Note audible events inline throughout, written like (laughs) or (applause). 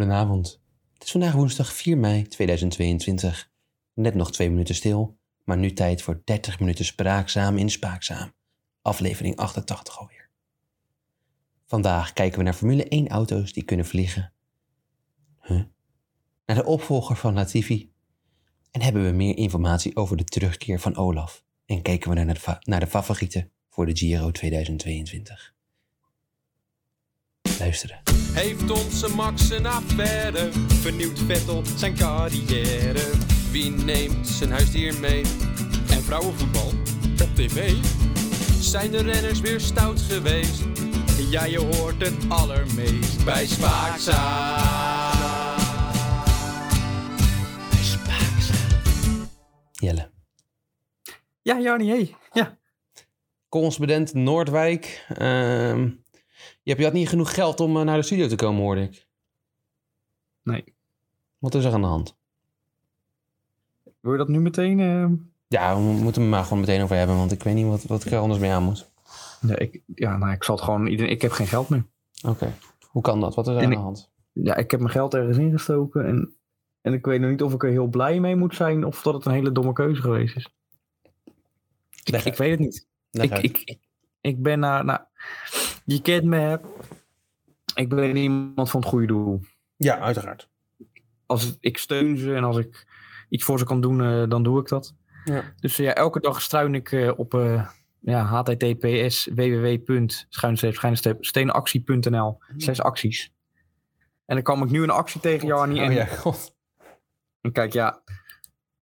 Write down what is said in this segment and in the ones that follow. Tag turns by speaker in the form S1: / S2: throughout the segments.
S1: Goedenavond. Het is vandaag woensdag 4 mei 2022. Net nog twee minuten stil, maar nu tijd voor 30 minuten spraakzaam in spaakzaam. Aflevering 88 alweer. Vandaag kijken we naar Formule 1 auto's die kunnen vliegen. Huh? Naar de opvolger van Latifi. En hebben we meer informatie over de terugkeer van Olaf. En kijken we naar de, fa- naar de favorieten voor de Giro 2022. Luisteren.
S2: Heeft onze Max een affaire? Vernieuwt Vettel zijn carrière? Wie neemt zijn huisdier mee? En vrouwenvoetbal op tv? Zijn de renners weer stout geweest? Ja, je hoort het allermeest bij Spaakzaam. Bij Spaakzaam.
S1: Jelle.
S3: Ja, Jarni, hey. Ja.
S1: correspondent Noordwijk. Ehm, je, hebt, je had niet genoeg geld om eh, naar de studio te komen, hoorde ik.
S3: Nee.
S1: Wat is er aan de hand?
S3: Wil je dat nu meteen? eh?
S1: Ja, we moeten het maar gewoon meteen over hebben, want ik weet niet wat, wat ik er anders mee aan moet.
S3: Ja, ik, ja nou, ik zal het gewoon... Iedereen, ik heb geen geld meer.
S1: Oké. Hoe kan dat? Wat is er
S3: En
S1: aan de
S3: ik-
S1: hand?
S3: Ja, ik heb mijn geld ergens ingestoken. En, en ik weet nog niet of ik er heel blij mee moet zijn... of dat het een hele domme keuze geweest is.
S1: Leg
S3: Ik,
S1: uit.
S3: ik weet het niet.
S1: Leg
S3: Ik,
S1: uit.
S3: ik, ik, ik ben naar... Nou, je kent me, hè. Ik ben iemand van het goede doel.
S1: Ja, uiteraard.
S3: Als het- ik steun ze en als ik iets voor ze kan doen, eh, dan doe ik dat.
S1: Ja.
S3: Dus eh, ja, elke dag struin ik eh, op eh, ja, https www.steenactie.nl
S1: Hmm.
S3: slash acties. En dan kwam ik nu een actie tegen Jarni. En,
S1: Oh ja, god.
S3: en kijk, ja,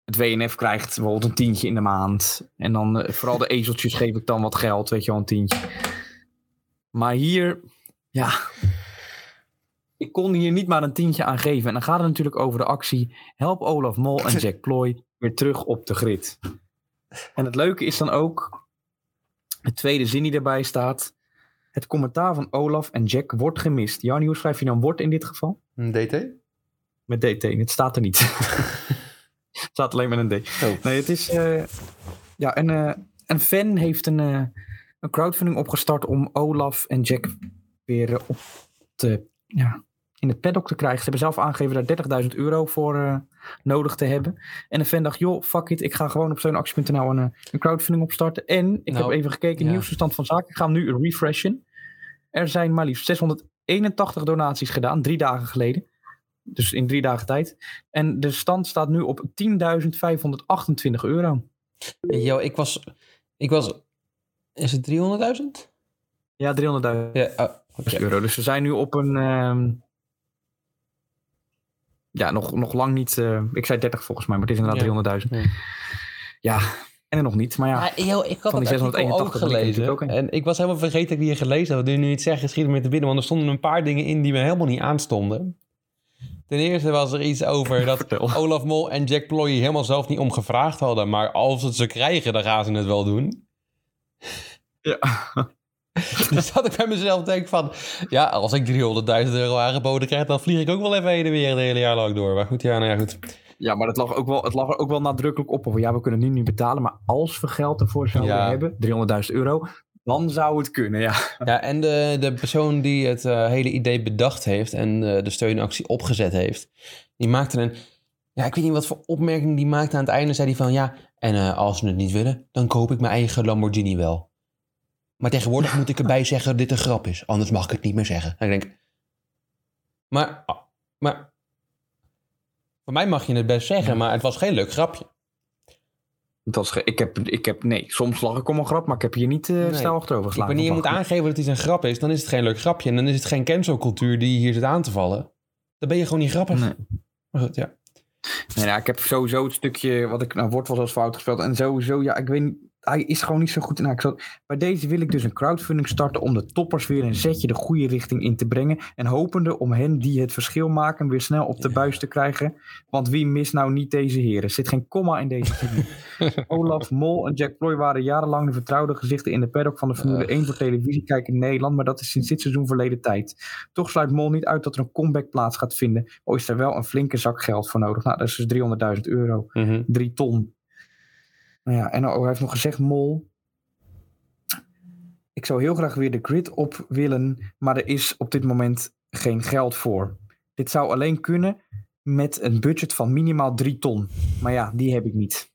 S3: het WNF krijgt bijvoorbeeld een tientje in de maand. En dan eh, vooral de ezeltjes geef ik dan wat geld, weet je wel, een tientje. Maar hier, ja, ik kon hier niet maar een tientje aan geven. En dan gaat het natuurlijk over de actie Help Olaf Mol en Jack Ploy weer terug op de grid. En het leuke is dan ook, de tweede zin die daarbij staat. Het commentaar van Olaf en Jack wordt gemist. Jarni, hoe schrijf je dan wordt in dit geval?
S1: Een DT?
S3: Met DT. Het staat er niet. (laughs) het staat alleen met een D.
S1: Oh.
S3: Nee, het is. eh, ja, een, eh, een fan heeft een, eh, een crowdfunding opgestart om Olaf en Jack weer eh, op te, ja, in het paddock te krijgen. Ze hebben zelf aangegeven daar 30.000 euro voor eh, nodig te hebben. En een fan dacht: joh, fuck it, ik ga gewoon op steunactie.nl een, eh, een crowdfunding opstarten. En ik
S1: Nou,
S3: heb even gekeken,
S1: ja.
S3: nieuwsverstand van zaken. Ik ga hem nu refreshen. Er zijn maar liefst 681 donaties gedaan, drie dagen geleden. Dus in drie dagen tijd. En de stand staat nu op 10.528 euro.
S1: Yo, ik was... Ik was... Is het 300.000?
S3: Ja, 300.000
S1: Ja, oh, oké.
S3: euro. Dus we zijn nu op een. ehm, ja, nog, nog lang niet. eh, ik zei 30 volgens mij, maar het is
S1: Ja.
S3: inderdaad 300.000.
S1: Ja.
S3: Ja, en er nog niet. Maar ja,
S1: Maar yo, ik had
S3: Van die
S1: het artikel
S3: 681
S1: ook
S3: ben ik er
S1: gelezen.
S3: natuurlijk ook in.
S1: en ik was helemaal vergeten dat ik die hier gelezen had. Wat nu nu niet zeggen, schiet me te binnen. Want er stonden een paar dingen in die me helemaal niet aanstonden. Ten eerste was er iets
S3: (laughs)
S1: over dat
S3: vertel.
S1: Olaf Mol en Jack Ploy hier helemaal zelf niet om gevraagd hadden. Maar als het ze krijgen, dan gaan ze het wel doen. (laughs)
S3: Ja.
S1: Dus dat ik bij mezelf denk van... Ja, als ik 300.000 euro aangeboden krijg, dan vlieg ik ook wel even heen en weer het hele jaar lang door. Maar goed, ja, nou ja, goed.
S3: ja, maar het lag, ook wel, het lag er ook wel nadrukkelijk op. Over, ja, we kunnen het nu niet betalen, maar als we geld ervoor zouden
S1: Ja.
S3: hebben, 300.000 euro, dan zou het kunnen. Ja.
S1: Ja, en de, de persoon die het eh, hele idee bedacht heeft en eh, de steunactie opgezet heeft, die maakte een. Ja, ik weet niet wat voor opmerking die maakte aan het einde. Zei hij van ja, en eh, als ze het niet willen, dan koop ik mijn eigen Lamborghini wel. Maar tegenwoordig moet ik erbij zeggen dat dit een grap is, anders mag ik het niet meer zeggen. En ik denk, maar, ah, maar, voor mij mag je het best zeggen, maar het was geen leuk grapje.
S3: Dat is ge- ik, heb, ik heb, nee, soms lag ik om een grap, maar ik heb hier niet eh
S1: Nee.
S3: stijl achterover
S1: Dus
S3: geslagen.
S1: wanneer je moet
S3: vandaag.
S1: aangeven dat iets een grap is, dan is het geen leuk grapje. En dan is het geen cancelcultuur die je hier zit aan te vallen. Dan ben je gewoon niet grappig.
S3: Nee.
S1: Maar goed, ja.
S3: Nee, nou, ik heb sowieso het stukje wat ik nou wordt was als fout gespeeld. En sowieso, ja, ik weet niet, hij is gewoon niet zo goed. Nou, ik zal, bij deze wil ik dus een crowdfunding starten om de toppers weer een zetje de goede richting in te brengen. En hopende om hen die het verschil maken weer snel op de
S1: Ja.
S3: buis te krijgen. Want wie mist nou niet deze heren? Er zit geen komma in deze video. Olaf Mol en Jack Ploy waren jarenlang de vertrouwde gezichten in de paddock van de Formule
S1: Ugh.
S3: 1 voor televisiekijker in Nederland. Maar dat is sinds dit seizoen verleden tijd. Toch sluit Mol niet uit dat er een comeback plaats gaat vinden. Al is er wel een flinke zak geld voor nodig. Nou, dat is dus 300.000 euro.
S1: Mhm.
S3: Drie ton. Nou ja, en oh, hij heeft nog gezegd, Mol... Ik zou heel graag weer de grid op willen, maar er is op dit moment geen geld voor. Dit zou alleen kunnen met een budget van minimaal 3 ton. Maar ja, die heb ik niet.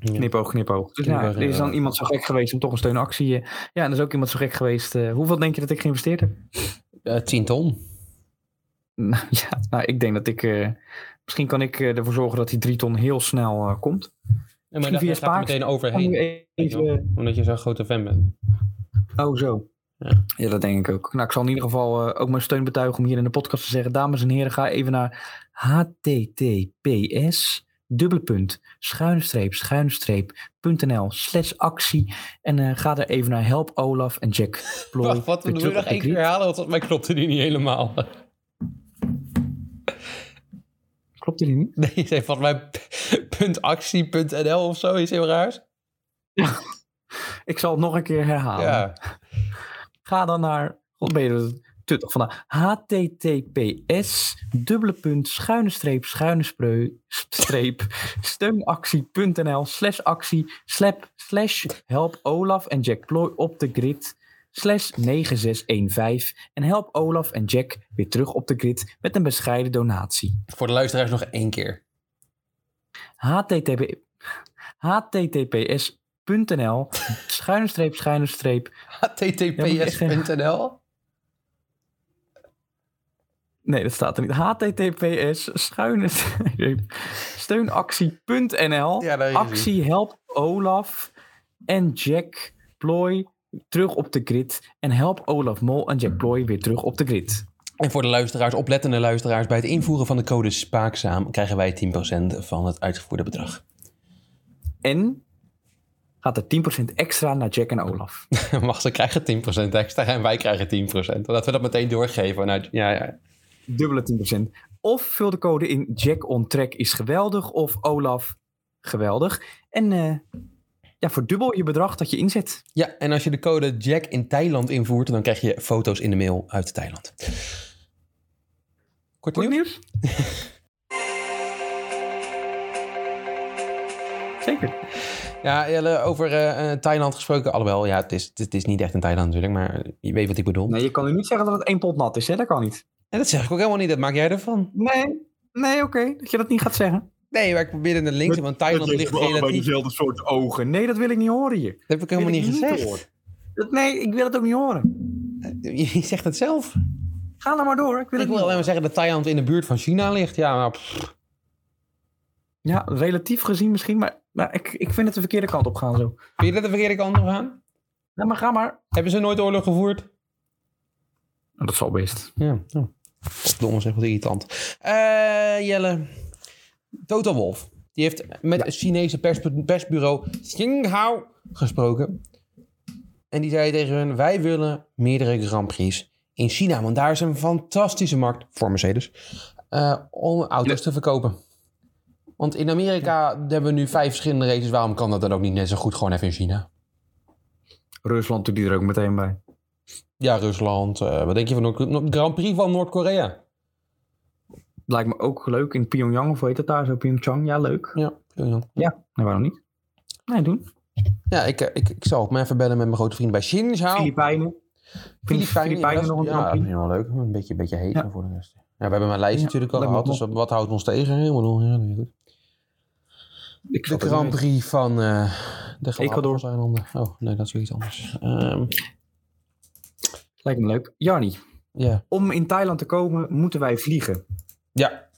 S1: Ja.
S3: Knipoog, knipoog. Dus
S1: Knipoog,
S3: nou, er is dan
S1: knipoog.
S3: iemand zo gek geweest om toch een steunactie. eh, Ja, en er is ook iemand zo gek geweest. eh, hoeveel denk je dat ik geïnvesteerd heb? (laughs)
S1: Eh, 10 ton.
S3: Nou ja, nou, ik denk dat ik. eh, misschien kan ik eh, ervoor zorgen dat die 3 ton heel snel eh, komt.
S1: Ja,
S3: Misschien
S1: maar daar,
S3: via
S1: daar gaat er
S3: Spaak. Oh,
S1: meteen
S3: Ik ga nu
S1: overheen.
S3: even.
S1: Omdat je zo'n grote fan bent.
S3: Oh, zo.
S1: Ja.
S3: Ja. dat denk ik ook. Nou, ik zal in ieder geval eh, ook mijn steun betuigen om hier in de podcast te zeggen. Dames en heren, ga even naar https dubbele punt schuine streep schuine streep punt nl slash actie en eh, ga er even naar help Olaf en Jack Ploy.
S1: (laughs) Wacht, wat
S3: weer
S1: wil je nog
S3: terug op de
S1: één keer
S3: griet.
S1: herhalen? Want volgens mij klopte die niet helemaal. (laughs)
S3: Klopt die niet?
S1: Nee, je zei volgens mij punt actie, punt NL of zo. Is heel raars.
S3: Ik zal het nog een keer herhalen.
S1: Ja.
S3: Ga dan naar. God, ben je er tuttig vandaag? https dubbele punt schuine streep schuine spreu- streep steunactie.nl slash actie slap slash help Olaf en Jack Ploy op de grid slash 9615 en help Olaf en Jack weer terug op de grid met een bescheiden donatie
S1: Voor de luisteraars nog één keer.
S3: http, https.nl schuine streep schuine streep
S1: https.nl
S3: Nee, dat staat er niet. https schuine (laughs) streep steunactie.nl
S1: Ja, daar is ie.
S3: Actie help Olaf en Jack Ploy terug op de grid. En help Olaf Mol en Jack Ploy weer terug op de grid.
S1: En voor de luisteraars, oplettende luisteraars, bij het invoeren van de code SPAAKZAAM krijgen wij 10% van het uitgevoerde bedrag.
S3: En gaat er 10% extra naar Jack en
S1: (laughs)
S3: Olaf.
S1: Mag ze krijgen 10% extra en wij krijgen 10%. Laten we dat meteen doorgeven. Nou, ja, ja.
S3: Dubbele 10%. Of vul de code in Jack on track is geweldig of Olaf geweldig. En eh, ja, verdubbel je bedrag dat je inzet.
S1: ja, en als je de code Jack in Thailand invoert, dan krijg je foto's in de mail uit Thailand. Kort
S3: Goed
S1: nieuws?
S3: nieuws? (laughs) Zeker.
S1: Ja, Jelle, over eh, eh, Thailand gesproken. Alhoewel, ja, het is, het, is- het is niet echt in Thailand natuurlijk, maar je weet wat ik bedoel.
S3: Nee, je kan nu niet zeggen dat het één pot nat is, hè? Dat kan niet.
S1: En dat zeg ik ook helemaal niet, dat maak jij ervan.
S3: Nee, nee, oké. Dat je dat niet gaat zeggen.
S1: Nee, maar ik probeerde naar links, want Thailand ligt relatief...
S3: dezelfde soort ogen. Nee, dat wil ik niet horen hier.
S1: Dat heb ik helemaal
S3: Wil
S1: niet
S3: ik niet
S1: gezegd.
S3: Dat, nee, ik wil het ook niet horen.
S1: Je zegt het zelf.
S3: Ga dan maar door. Ik
S1: Ik
S3: wil het
S1: wil
S3: niet
S1: alleen maar
S3: horen.
S1: zeggen dat Thailand in de buurt van China ligt. Ja, maar pff,
S3: Ja, relatief gezien misschien, maar, maar ik, ik vind het de verkeerde kant op gaan zo.
S1: vind je dat de verkeerde kant op gaan?
S3: Ja, maar ga maar.
S1: Hebben ze nooit oorlog gevoerd?
S3: Nou, Dat zal best.
S1: Ja. Oh. Domme zeg, wat irritant. Eh, Jelle. Toto Wolf. Die heeft met het Chinese persbu- persbureau Xinghao gesproken. En die zei tegen hun, wij willen meerdere Grand Prix in China. Want daar is een fantastische markt voor Mercedes. eh, om auto's te verkopen. Want in Amerika hebben we nu vijf verschillende races. Waarom kan dat dan ook niet net zo goed gewoon even in China?
S3: Rusland doet die er ook meteen bij.
S1: Ja, Rusland. eh, wat denk je van de Grand Prix van Noord-Korea?
S3: Lijkt me ook leuk in Pyongyang, of hoe heet dat daar zo? Pyeongchang, ja, leuk.
S1: Ja, Pyongyang.
S3: Nee, waarom niet? Nee, doen.
S1: Ja, ik, eh, ik, ik zal ook maar even bellen met mijn grote vriend bij Xinjiang.
S3: Filipijnen. Filipijnen,
S1: Nou, ja,
S3: nog een
S1: ja,
S3: Grand
S1: dat is
S3: Prix.
S1: helemaal leuk. Een beetje, een beetje heet
S3: Ja.
S1: maar voor de rest. Ja, we hebben mijn lijst
S3: Ja,
S1: natuurlijk al
S3: lijkt me
S1: gehad, dus wat, wat houdt ons tegen? Helemaal nog, ja, nee, goed.
S3: Ik
S1: De
S3: snap het
S1: Grand
S3: niet.
S1: Prix van eh de
S3: Ecuador.
S1: Galapagoseilanden. Oh, nee, dat is weer iets anders. Ehm,
S3: Lijkt me leuk. Jarni,
S1: ja.
S3: om in Thailand te komen moeten wij vliegen.
S1: ja,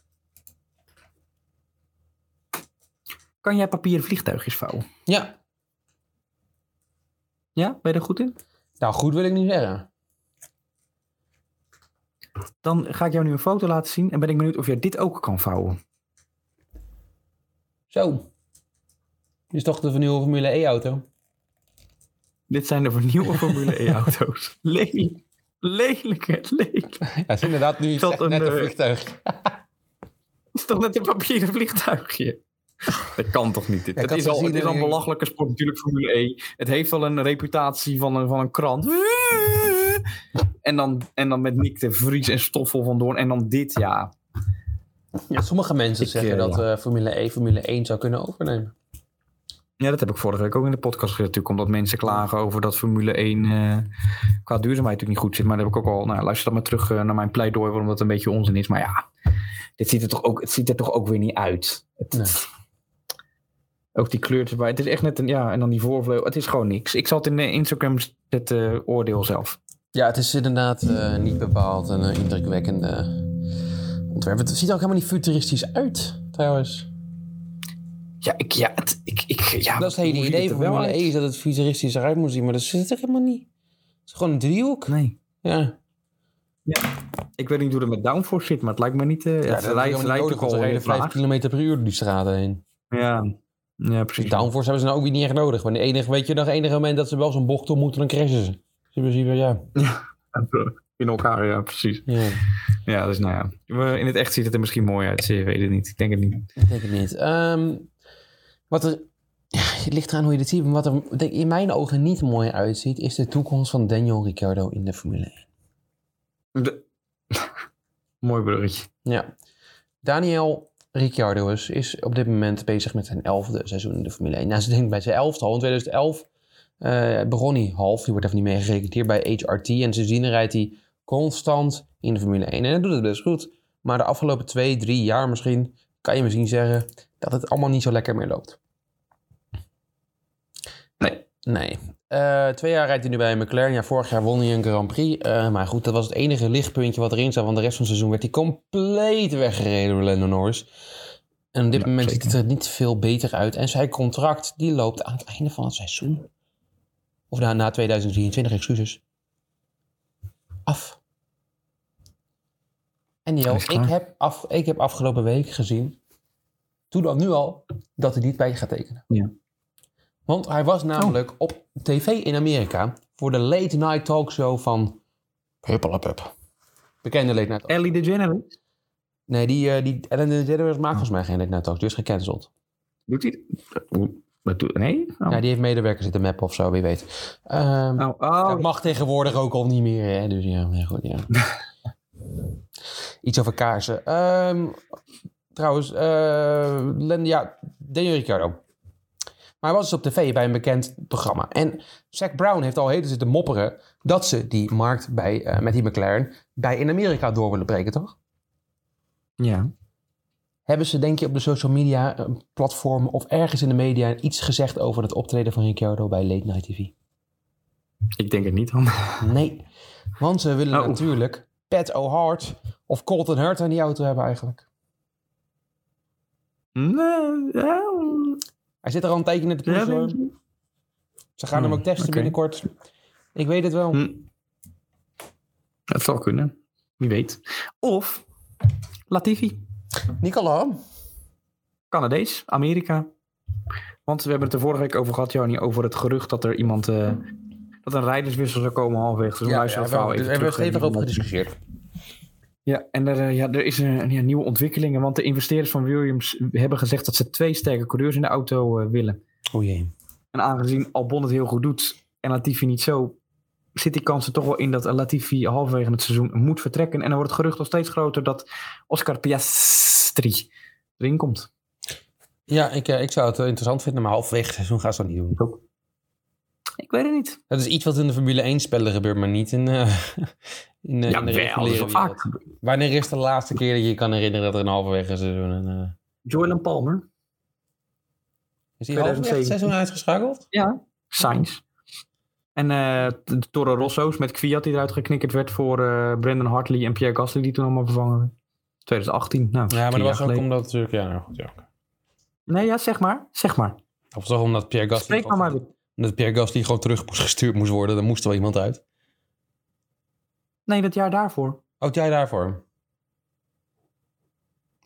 S3: Kan jij papieren vliegtuigjes vouwen?
S1: ja.
S3: Ja, ben je daar goed in?
S1: Nou, goed wil ik niet zeggen.
S3: Dan ga ik jou nu een foto laten zien en ben ik benieuwd of jij dit ook kan vouwen.
S1: Zo. Dit is toch de nieuwe Formule E-auto?
S3: Dit zijn de vernieuwde Formule
S1: (laughs)
S3: E-auto's. Lelijk. Lelijk, hè? lelijk.
S1: Ja, het is inderdaad (laughs) nu
S3: Tot
S1: echt
S3: een,
S1: net een
S3: eh,
S1: vliegtuig.
S3: Het is toch net een papieren vliegtuigje? Dat kan toch niet? Dit.
S1: Ja, ik
S3: het
S1: had
S3: is, al,
S1: gezien
S3: het is
S1: dat
S3: al een
S1: ik-
S3: belachelijke sport, natuurlijk, Formule E. Het heeft al een reputatie van een, van een
S1: (laughs)
S3: krant. En dan, en dan met Nick de Vries en Stoffel vandoor. En dan dit, ja.
S1: Ja, sommige mensen
S3: Ik,
S1: zeggen
S3: eh,
S1: dat eh, Formule E Formule 1 zou kunnen overnemen.
S3: Ja, dat heb ik vorige week ook in de podcast gezet natuurlijk. Omdat mensen klagen over dat Formule 1 eh, qua duurzaamheid natuurlijk niet goed zit. Maar dat heb ik ook al... Nou, luister dan maar terug eh, naar mijn pleidooi waarom dat een beetje onzin is. Maar ja, dit ziet er toch ook, het ziet er toch ook weer niet uit. Het-
S1: Nee.
S3: Ook die kleur erbij. Het is echt net een... Ja, en dan die voorvleugel. Het is gewoon niks. Ik zal het in de Instagram zetten, eh, oordeel zelf.
S1: Ja, het is inderdaad eh, niet bepaald een eh, indrukwekkende ontwerp. Het ziet er ook helemaal niet futuristisch uit, trouwens.
S3: Ja, ik... Ja, het, ik, ik, ja
S1: dat is het hele
S3: Ah, hoe ziet
S1: idee
S3: er
S1: van
S3: wel
S1: Formule
S3: uit?
S1: 1, is dat het futuristisch eruit moet zien. Maar dat zit er helemaal niet. Het is gewoon een driehoek.
S3: Nee.
S1: Ja.
S3: Ik weet niet hoe dat met downforce zit, maar het lijkt me niet... eh het lijkt, lijkt ook al
S1: reden
S3: heel
S1: 5
S3: vaag.
S1: km per uur door die straten heen.
S3: Ja. ja, precies.
S1: Dus Downforce hebben ze nou ook weer niet echt nodig. Maar de enige, weet je nog, het enige moment dat ze wel zo'n bocht om moeten, dan crashen ze. Dus in principe, ja.
S3: (laughs) In elkaar, ja, precies.
S1: ja.
S3: Ja, dus nou ja. We- In het echt ziet het er misschien mooi uit. Ik weet het niet. Ik denk het niet.
S1: Ik denk het niet. Ehm, wat er... Ja, het ligt eraan hoe je dit ziet. Maar wat er denk ik, in mijn ogen niet mooi uitziet... is de toekomst van Daniel Ricciardo in de Formule 1.
S3: De- (laughs) mooi bruggetje.
S1: Ja. Daniel Ricciardo is, is op dit moment bezig met zijn elfde seizoen in de Formule 1. Nou, ze denkt bij zijn elfde al. In 2011 eh, begon hij half. Die wordt even niet meegerekend hier bij HRT. En sindsdien rijdt hij constant in de Formule 1. En hij doet het best goed. Maar de afgelopen twee, drie jaar misschien... kan je misschien zeggen dat het allemaal niet zo lekker meer loopt.
S3: Nee.
S1: Nee. Eh, twee jaar rijdt hij nu bij McLaren. Ja, vorig jaar won hij een Grand Prix. Eh, maar goed, dat was het enige lichtpuntje wat erin zat. Want de rest van het seizoen werd hij compleet weggereden door Lando Norris. En op dit
S3: Ja,
S1: moment
S3: zeker.
S1: ziet het er niet veel beter uit. En zijn contract, die loopt aan het einde van het seizoen. Of na, na 2023, excuses. Af. En Jel,
S3: Hij is
S1: ik
S3: klaar.
S1: heb, af, ik heb afgelopen week gezien, toen al nu al, dat hij niet bij je gaat tekenen.
S3: Ja. Oh.
S1: Want hij was namelijk op tv in Amerika voor de late night talkshow van Huppelepup. Bekende late night talkshow.
S3: Ellie DeGeneres.
S1: Nee, die, eh, die Ellen DeGeneres
S3: Oh.
S1: maakt volgens mij geen late night talkshow, die is gecanceld.
S3: Doet hij dat? Oeh, wat doet- Nee? Oh.
S1: Ja, die heeft medewerkers zitten mappen of zo, wie weet. Ehm,
S3: Oh, oh.
S1: Dat mag tegenwoordig ook al niet meer, hè? Dus ja, maar goed, ja. Iets over kaarsen. Ehm, trouwens, eh, Len, ja, Daniel Ricciardo. Maar hij was dus op tv bij een bekend programma. En Zac Brown heeft al heden zitten mopperen... dat ze die markt bij, eh, met die McLaren bij in Amerika door willen breken, toch?
S3: Ja.
S1: Hebben ze, denk je, op de social media eh, platform... of ergens in de media iets gezegd over het optreden van Ricciardo bij Late Night TV?
S3: Ik denk het niet, dan.
S1: Nee, want ze willen
S3: Oh.
S1: natuurlijk Pat O'Hart of Colton Hurt aan die auto hebben eigenlijk.
S3: Nee. ja.
S1: Hij zit er al een tijdje in de
S3: Ja,
S1: proef. hoor.
S3: denk-
S1: Ze gaan hem
S3: Hmm,
S1: ook testen
S3: oké.
S1: binnenkort. Ik weet het wel.
S3: Hm. Dat zal kunnen. Wie weet. Of Latifi.
S1: Nicola,
S3: Canadees, Amerika. Want we hebben het er vorige week over gehad, Jani, over het gerucht dat er iemand. eh, dat een rijderswissel zou komen halverwege. Dus het seizoen. Luister dat verhaal
S1: we hebben
S3: terug,
S1: er even
S3: eh,
S1: over gediscussieerd.
S3: Ja, en er, eh, ja, er is een, ja, nieuwe ontwikkelingen. Want de investeerders van Williams hebben gezegd dat ze twee sterke coureurs in de auto eh, willen.
S1: O jee.
S3: En aangezien Albon het heel goed doet en Latifi niet zo, zit die kans er toch wel in dat Latifi halverwege het seizoen moet vertrekken. En dan wordt het gerucht nog steeds groter dat Oscar Piastri erin komt.
S1: Ja, ik, eh, ik zou het wel interessant vinden, maar halverwege het seizoen gaan ze dat niet doen.
S3: Ik weet het niet.
S1: Dat is iets wat in de Formule 1 spellen gebeurt, maar niet in, eh (laughs) in, eh, in de
S3: Jawel, dat is
S1: reguliere
S3: wel
S1: wereld.
S3: vaak.
S1: Wanneer is de laatste keer dat je je kan herinneren dat er een halverwege het seizoen een... eh,
S3: Joylan Palmer.
S1: is die halverwege het
S3: 2017.
S1: seizoen uitgeschakeld?
S3: Ja. Sainz. En eh, de de Toro Rosso's met Kwiat die eruit geknikkerd werd voor eh, Brandon Hartley en Pierre Gasly die toen allemaal vervangen werden. 2018. Nou,
S1: Ja, maar
S3: drie
S1: dat was
S3: jaar
S1: ook
S3: geleden.
S1: omdat natuurlijk... Ja, nou goed, ja. oké.
S3: Nee, ja, zeg maar. Zeg maar.
S1: Of toch omdat Pierre Gasly...
S3: Spreek maar maar weer.
S1: Omdat Pierre Gasly gewoon terug moest gestuurd moest worden. Dan moest er wel iemand uit.
S3: Nee, dat jaar daarvoor.
S1: Houd jij daarvoor?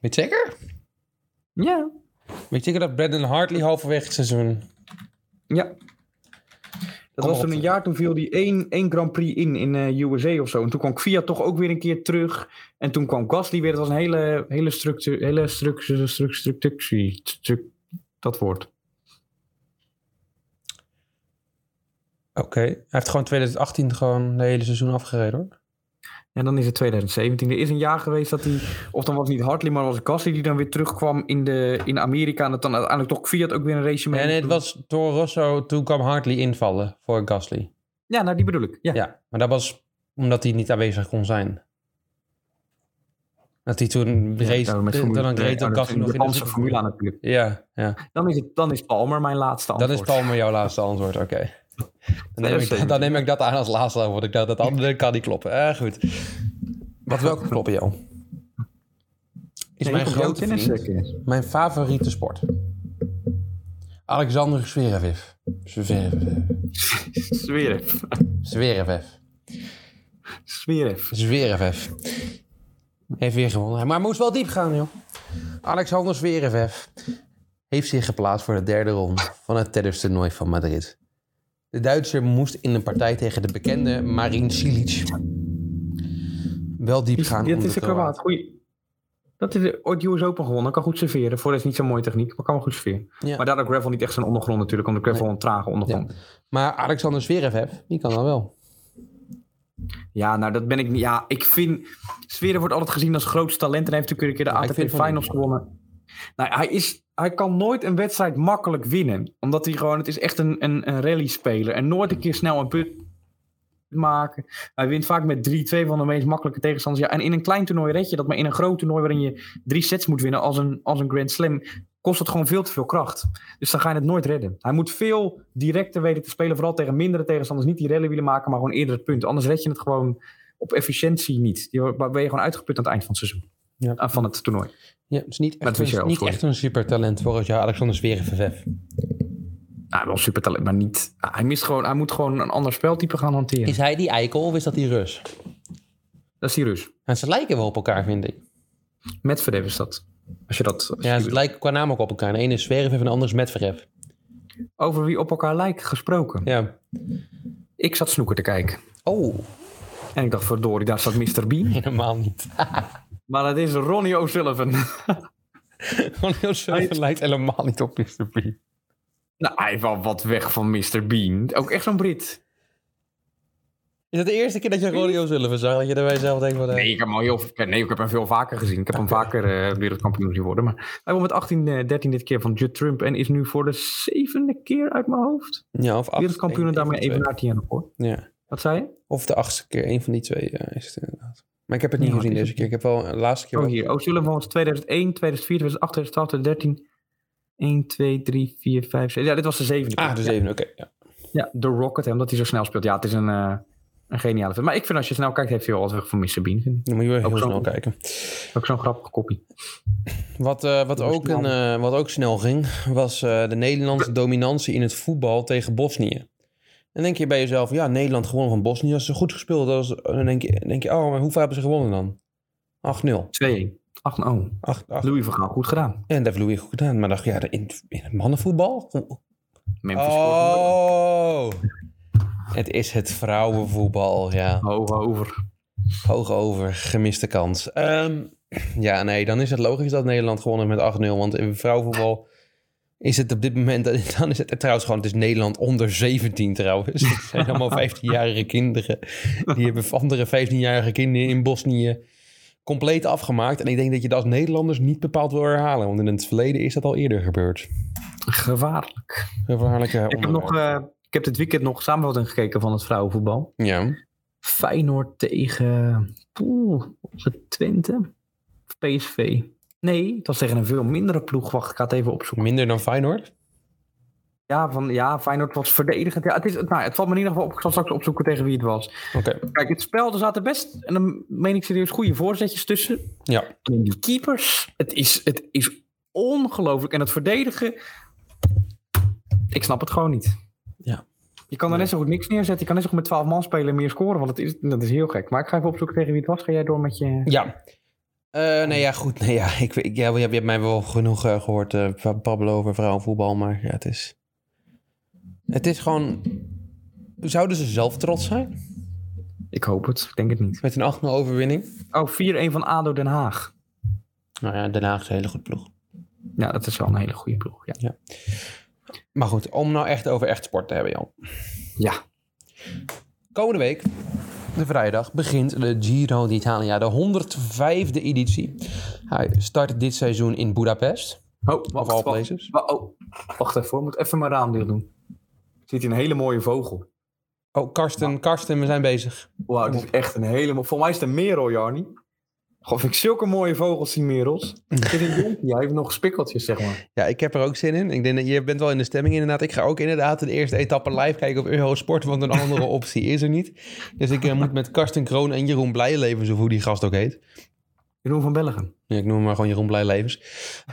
S1: Weet je zeker?
S3: Ja.
S1: Weet je zeker dat Brandon Hartley halverwege het seizoen...
S3: Ja. Dat
S1: Kom
S3: was
S1: op.
S3: toen een jaar, toen viel die één, één Grand Prix in, in eh USA of zo. En toen kwam Kwiat toch ook weer een keer terug. En toen kwam Gasly weer. Het was een hele, hele structuur, hele structuur, structuur, structuur, structuur, dat woord.
S1: Oké, hij heeft gewoon 2018 gewoon het hele seizoen afgereden hoor.
S3: En dan is het 2017. Er is een jaar geweest dat hij, of dan was het niet Hartley, maar was het Gasly die dan weer terugkwam in, de, in Amerika. En dat dan uiteindelijk toch Fiat ook weer een race mee.
S1: En het was door Rosso, toen kwam Hartley invallen voor Gasly.
S3: Ja, nou die bedoel ik. Ja.
S1: Ja, maar dat was omdat hij niet aanwezig kon zijn. Dat hij toen race,
S3: Ja, met
S1: dan
S3: Formule-
S1: dan reed
S3: Ja,
S1: dan
S3: dat is
S1: Gasly
S3: een
S1: nog in
S3: Japanse
S1: de-
S3: formule natuurlijk.
S1: Ja, ja.
S3: Dan is, het, dan is Palmer mijn laatste
S1: Dan
S3: antwoord.
S1: is Palmer jouw laatste antwoord, oké. Dan, neem ik dat- dan neem ik dat aan als laatste antwoord. Ik dacht, dat andere kan niet kloppen. Eh, goed. Wat
S3: (laughs)
S1: welke kloppen, joh? Is
S3: Nee,
S1: mijn
S3: ik heb jou
S1: grote
S3: tennis,
S1: vriend,
S3: eh,
S1: (laughs)
S3: kennis.
S1: mijn favoriete sport. Alexander Zverev. Zverev.
S3: Zverev.
S1: Zverev.
S3: Zverev.
S1: Zverev. Heeft weer gewonnen. Maar moest wel diep gaan, joh. Alexander Zverev heeft zich geplaatst voor de derde ronde van het tennis toernooi van Madrid. De Duitser moest in een partij tegen de bekende Marin Cilic. Wel diep gaan. om
S3: Dat is
S1: de
S3: een Kroaat. Goeie. Dat is de- ooit US Open gewonnen. Kan goed serveren. Voor is niet zo'n mooie techniek, maar kan wel goed serveren.
S1: Ja.
S3: Maar daar had gravel niet echt zijn ondergrond natuurlijk. Omdat gravel een trage ondergrond. Ja.
S1: Maar Alexander Zverev, die kan dan wel.
S3: nou dat ben ik niet. Ja, ik vind... Sferen wordt altijd gezien als grootste talent. En hij heeft natuurlijk een keer de
S1: Ja, ik
S3: ATP
S1: vind van
S3: Finals
S1: niet.
S3: gewonnen. Nou, hij, is, hij kan nooit een wedstrijd makkelijk winnen. Omdat hij gewoon... Het is echt een, een, een rally-speler. En nooit een keer snel een put maken. Hij wint vaak met 3-2 van de meest makkelijke tegenstanders. Ja, en in een klein toernooi red je dat, maar in een groot toernooi waarin je drie sets moet winnen als een, als een Grand Slam, kost het gewoon veel te veel kracht. Dus dan ga je het nooit redden. Hij moet veel directer weten te spelen, vooral tegen mindere tegenstanders. Niet die rally willen maken, maar gewoon eerder het punt. Anders red je het gewoon op efficiëntie niet. Je- Dan ben je gewoon uitgeput aan het eind van het seizoen.
S1: Ja.
S3: Ah, Van het toernooi.
S1: Ja, het is niet
S3: Dat
S1: echt,
S3: wist je
S1: een,
S3: al,
S1: niet
S3: sorry.
S1: echt een supertalent volgens jou, Alexander Zverev.
S3: Nou, wel super talent, maar niet. Ah, Hij, mist gewoon, hij moet gewoon een ander speltype gaan hanteren.
S1: Is hij die eikel of is dat die Rus?
S3: Dat is die Rus.
S1: En ze lijken wel op elkaar, vind ik.
S3: Met Verdev is dat. Als je dat. als
S1: Ja,
S3: je-
S1: ze lijken qua naam ook op elkaar. De ene is Zverev en de ander is Medvedev.
S3: Over wie op elkaar lijken gesproken.
S1: Ja.
S3: Ik zat snoeker te kijken.
S1: Oh,
S3: En ik dacht, verdorie, daar staat Mr. Bean.
S1: helemaal niet. (laughs)
S3: Maar dat is Ronnie O'Sullivan. (laughs)
S1: Ronnie O'Sullivan lijkt helemaal niet op Mr. Bean.
S3: nou, hij heeft wel wat weg van Mr. Bean. Ook echt zo'n Brit.
S1: Is dat de eerste keer dat je Ronnie O'Sullivan zag? Dat je erbij zelf denkt van... eh, Ah.
S3: Nee, ik heb hem, al heel, nee, ik heb hem veel vaker gezien. Ik heb hem vaker eh, wereldkampioen zien worden. Maar hij won met 18, eh, 13 dit keer van Judd Trump. En is nu voor de zevende keer uit mijn hoofd.
S1: Ja, of acht.
S3: Wereldkampioen en
S1: Eén van
S3: daarmee
S1: de
S3: even naar Tiana hoor.
S1: twee. Ja.
S3: Wat zei je?
S1: Of de achtste keer. Een van die twee ja, is het inderdaad. Maar ik heb het niet
S3: Ja,
S1: gezien
S3: het is
S1: deze keer. Ik heb wel de laatste keer...
S3: Oh,
S1: wel-
S3: hier. O'Sullivan was 2001, 2004, 2008, 2012, 2013. 1, 2, 3, 4, 5, 6. Ja, dit was de zevende keer.
S1: Ah, de
S3: oh. Ja.
S1: zevende, oké. ja.
S3: Ja, de Rocket, hè, omdat hij zo snel speelt. Ja, het is een, eh, een geniale film. Maar ik vind als je snel kijkt, heeft hij wel wat weg van Mr. Bean. Vind ik.
S1: Dan moet je wel heel
S3: Ook Oh, zo.
S1: snel kijken.
S3: Ook zo'n grappige kopie.
S1: Wat, eh, wat,
S3: Dat was
S1: ook een, eh, wat ook snel ging, was eh, de Nederlandse dominantie in het voetbal tegen Bosnië. Dan denk je bij jezelf, ja, Nederland gewonnen van Bosnië. Als ze goed gespeeld hadden, als- dan denk je, denk je, oh, maar hoeveel hebben ze gewonnen dan? 8-0.
S3: 2-1. 8 0
S1: 8 8
S3: oh, Louis van Gaal, goed gedaan.
S1: En dat heeft Louis goed gedaan. Maar dacht, ja, in, in het mannenvoetbal?
S3: Memphis scoort nooit.
S1: Oh! Het is het vrouwenvoetbal, ja.
S3: Hoog over.
S1: Hoog over, gemiste kans. Ehm, ja, nee, dan is het logisch dat Nederland gewonnen heeft met 8-0. Want in vrouwenvoetbal is het op dit moment... (laughs) Dan is het trouwens gewoon... Het is Nederland onder 17 trouwens. (laughs) Het zijn allemaal 15-jarige kinderen. Die hebben andere 15-jarige kinderen in Bosnië compleet afgemaakt. En ik denk dat je dat als Nederlanders niet bepaald wil herhalen. Want in het verleden is dat al eerder gebeurd.
S3: Gevaarlijk.
S1: Gevaarlijke
S3: Ik heb, nog, eh, ik heb dit weekend nog samenvatting gekeken van het vrouwenvoetbal.
S1: Ja,
S3: Feyenoord tegen... Oeh, was het Twente? Of PSV? Nee, het was tegen een veel mindere ploeg. Wacht, ik ga het even opzoeken.
S1: minder dan Feyenoord.
S3: Ja, van, ja Feyenoord was verdedigend. Ja, het, is, nou, het valt me in ieder geval op. Ik zal straks opzoeken tegen wie het was.
S1: Oké,
S3: Kijk, het spel, er zaten best, en dan meen ik serieus, goede voorzetjes tussen.
S1: ja.
S3: En die keepers, het is, het is ongelooflijk. En het verdedigen, ik snap het gewoon niet.
S1: Ja.
S3: Je kan er net zo goed niks neerzetten. Je kan net zo goed met 12 man spelen en meer scoren, want dat is, dat is heel gek. Maar ik ga even opzoeken tegen wie het was. Ga jij door met je...
S1: Ja. Eh, nee, ja, goed. Nee, ja, (laughs) ik, ik, ja, je, hebt, je hebt mij wel genoeg eh, gehoord eh, van babbelen over vrouwenvoetbal, maar ja, het is... Het is gewoon... Zouden ze zelf trots zijn
S3: Ik hoop het, ik denk het niet.
S1: met een 8-0 overwinning?
S3: Oh, 4-1 van ADO Den Haag.
S1: Nou ja, Den Haag is een hele goed ploeg.
S3: Ja, dat is wel een hele goede ploeg. Ja.
S1: Maar goed, om nou echt over echt sport te hebben, Jan.
S3: ja.
S1: Komende week De vrijdag begint de Giro d'Italia, de 105e editie. Hij start dit seizoen in Budapest.
S3: Oh,
S1: Of
S3: wacht,
S1: all
S3: wacht,
S1: places.
S3: wa- oh, wacht even hoor. Moet even mijn raam dicht doen. Er zit hier een hele mooie vogel.
S1: Oh, Karsten, Karsten, we zijn bezig.
S3: Wauw, dit is echt een hele mooie... Voor mij is het een merel, Jarni. Goh, vind ik zulke mooie vogels, die merels. (laughs) Er zit een jonkie, hij heeft nog spikkeltjes, zeg maar.
S1: Ja, ik heb er ook zin in. Ik denk dat je bent wel in de stemming inderdaad. Ik ga ook inderdaad de eerste etappe live kijken op Eurosport, want een
S3: (laughs)
S1: andere optie is er niet. Dus ik eh, moet met Karsten Kroon en Jeroen Blijlevens, of hoe die gast ook heet.
S3: Jeroen van Bellegem.
S1: Ja, ik noem hem maar gewoon Jeroen Blijlevens.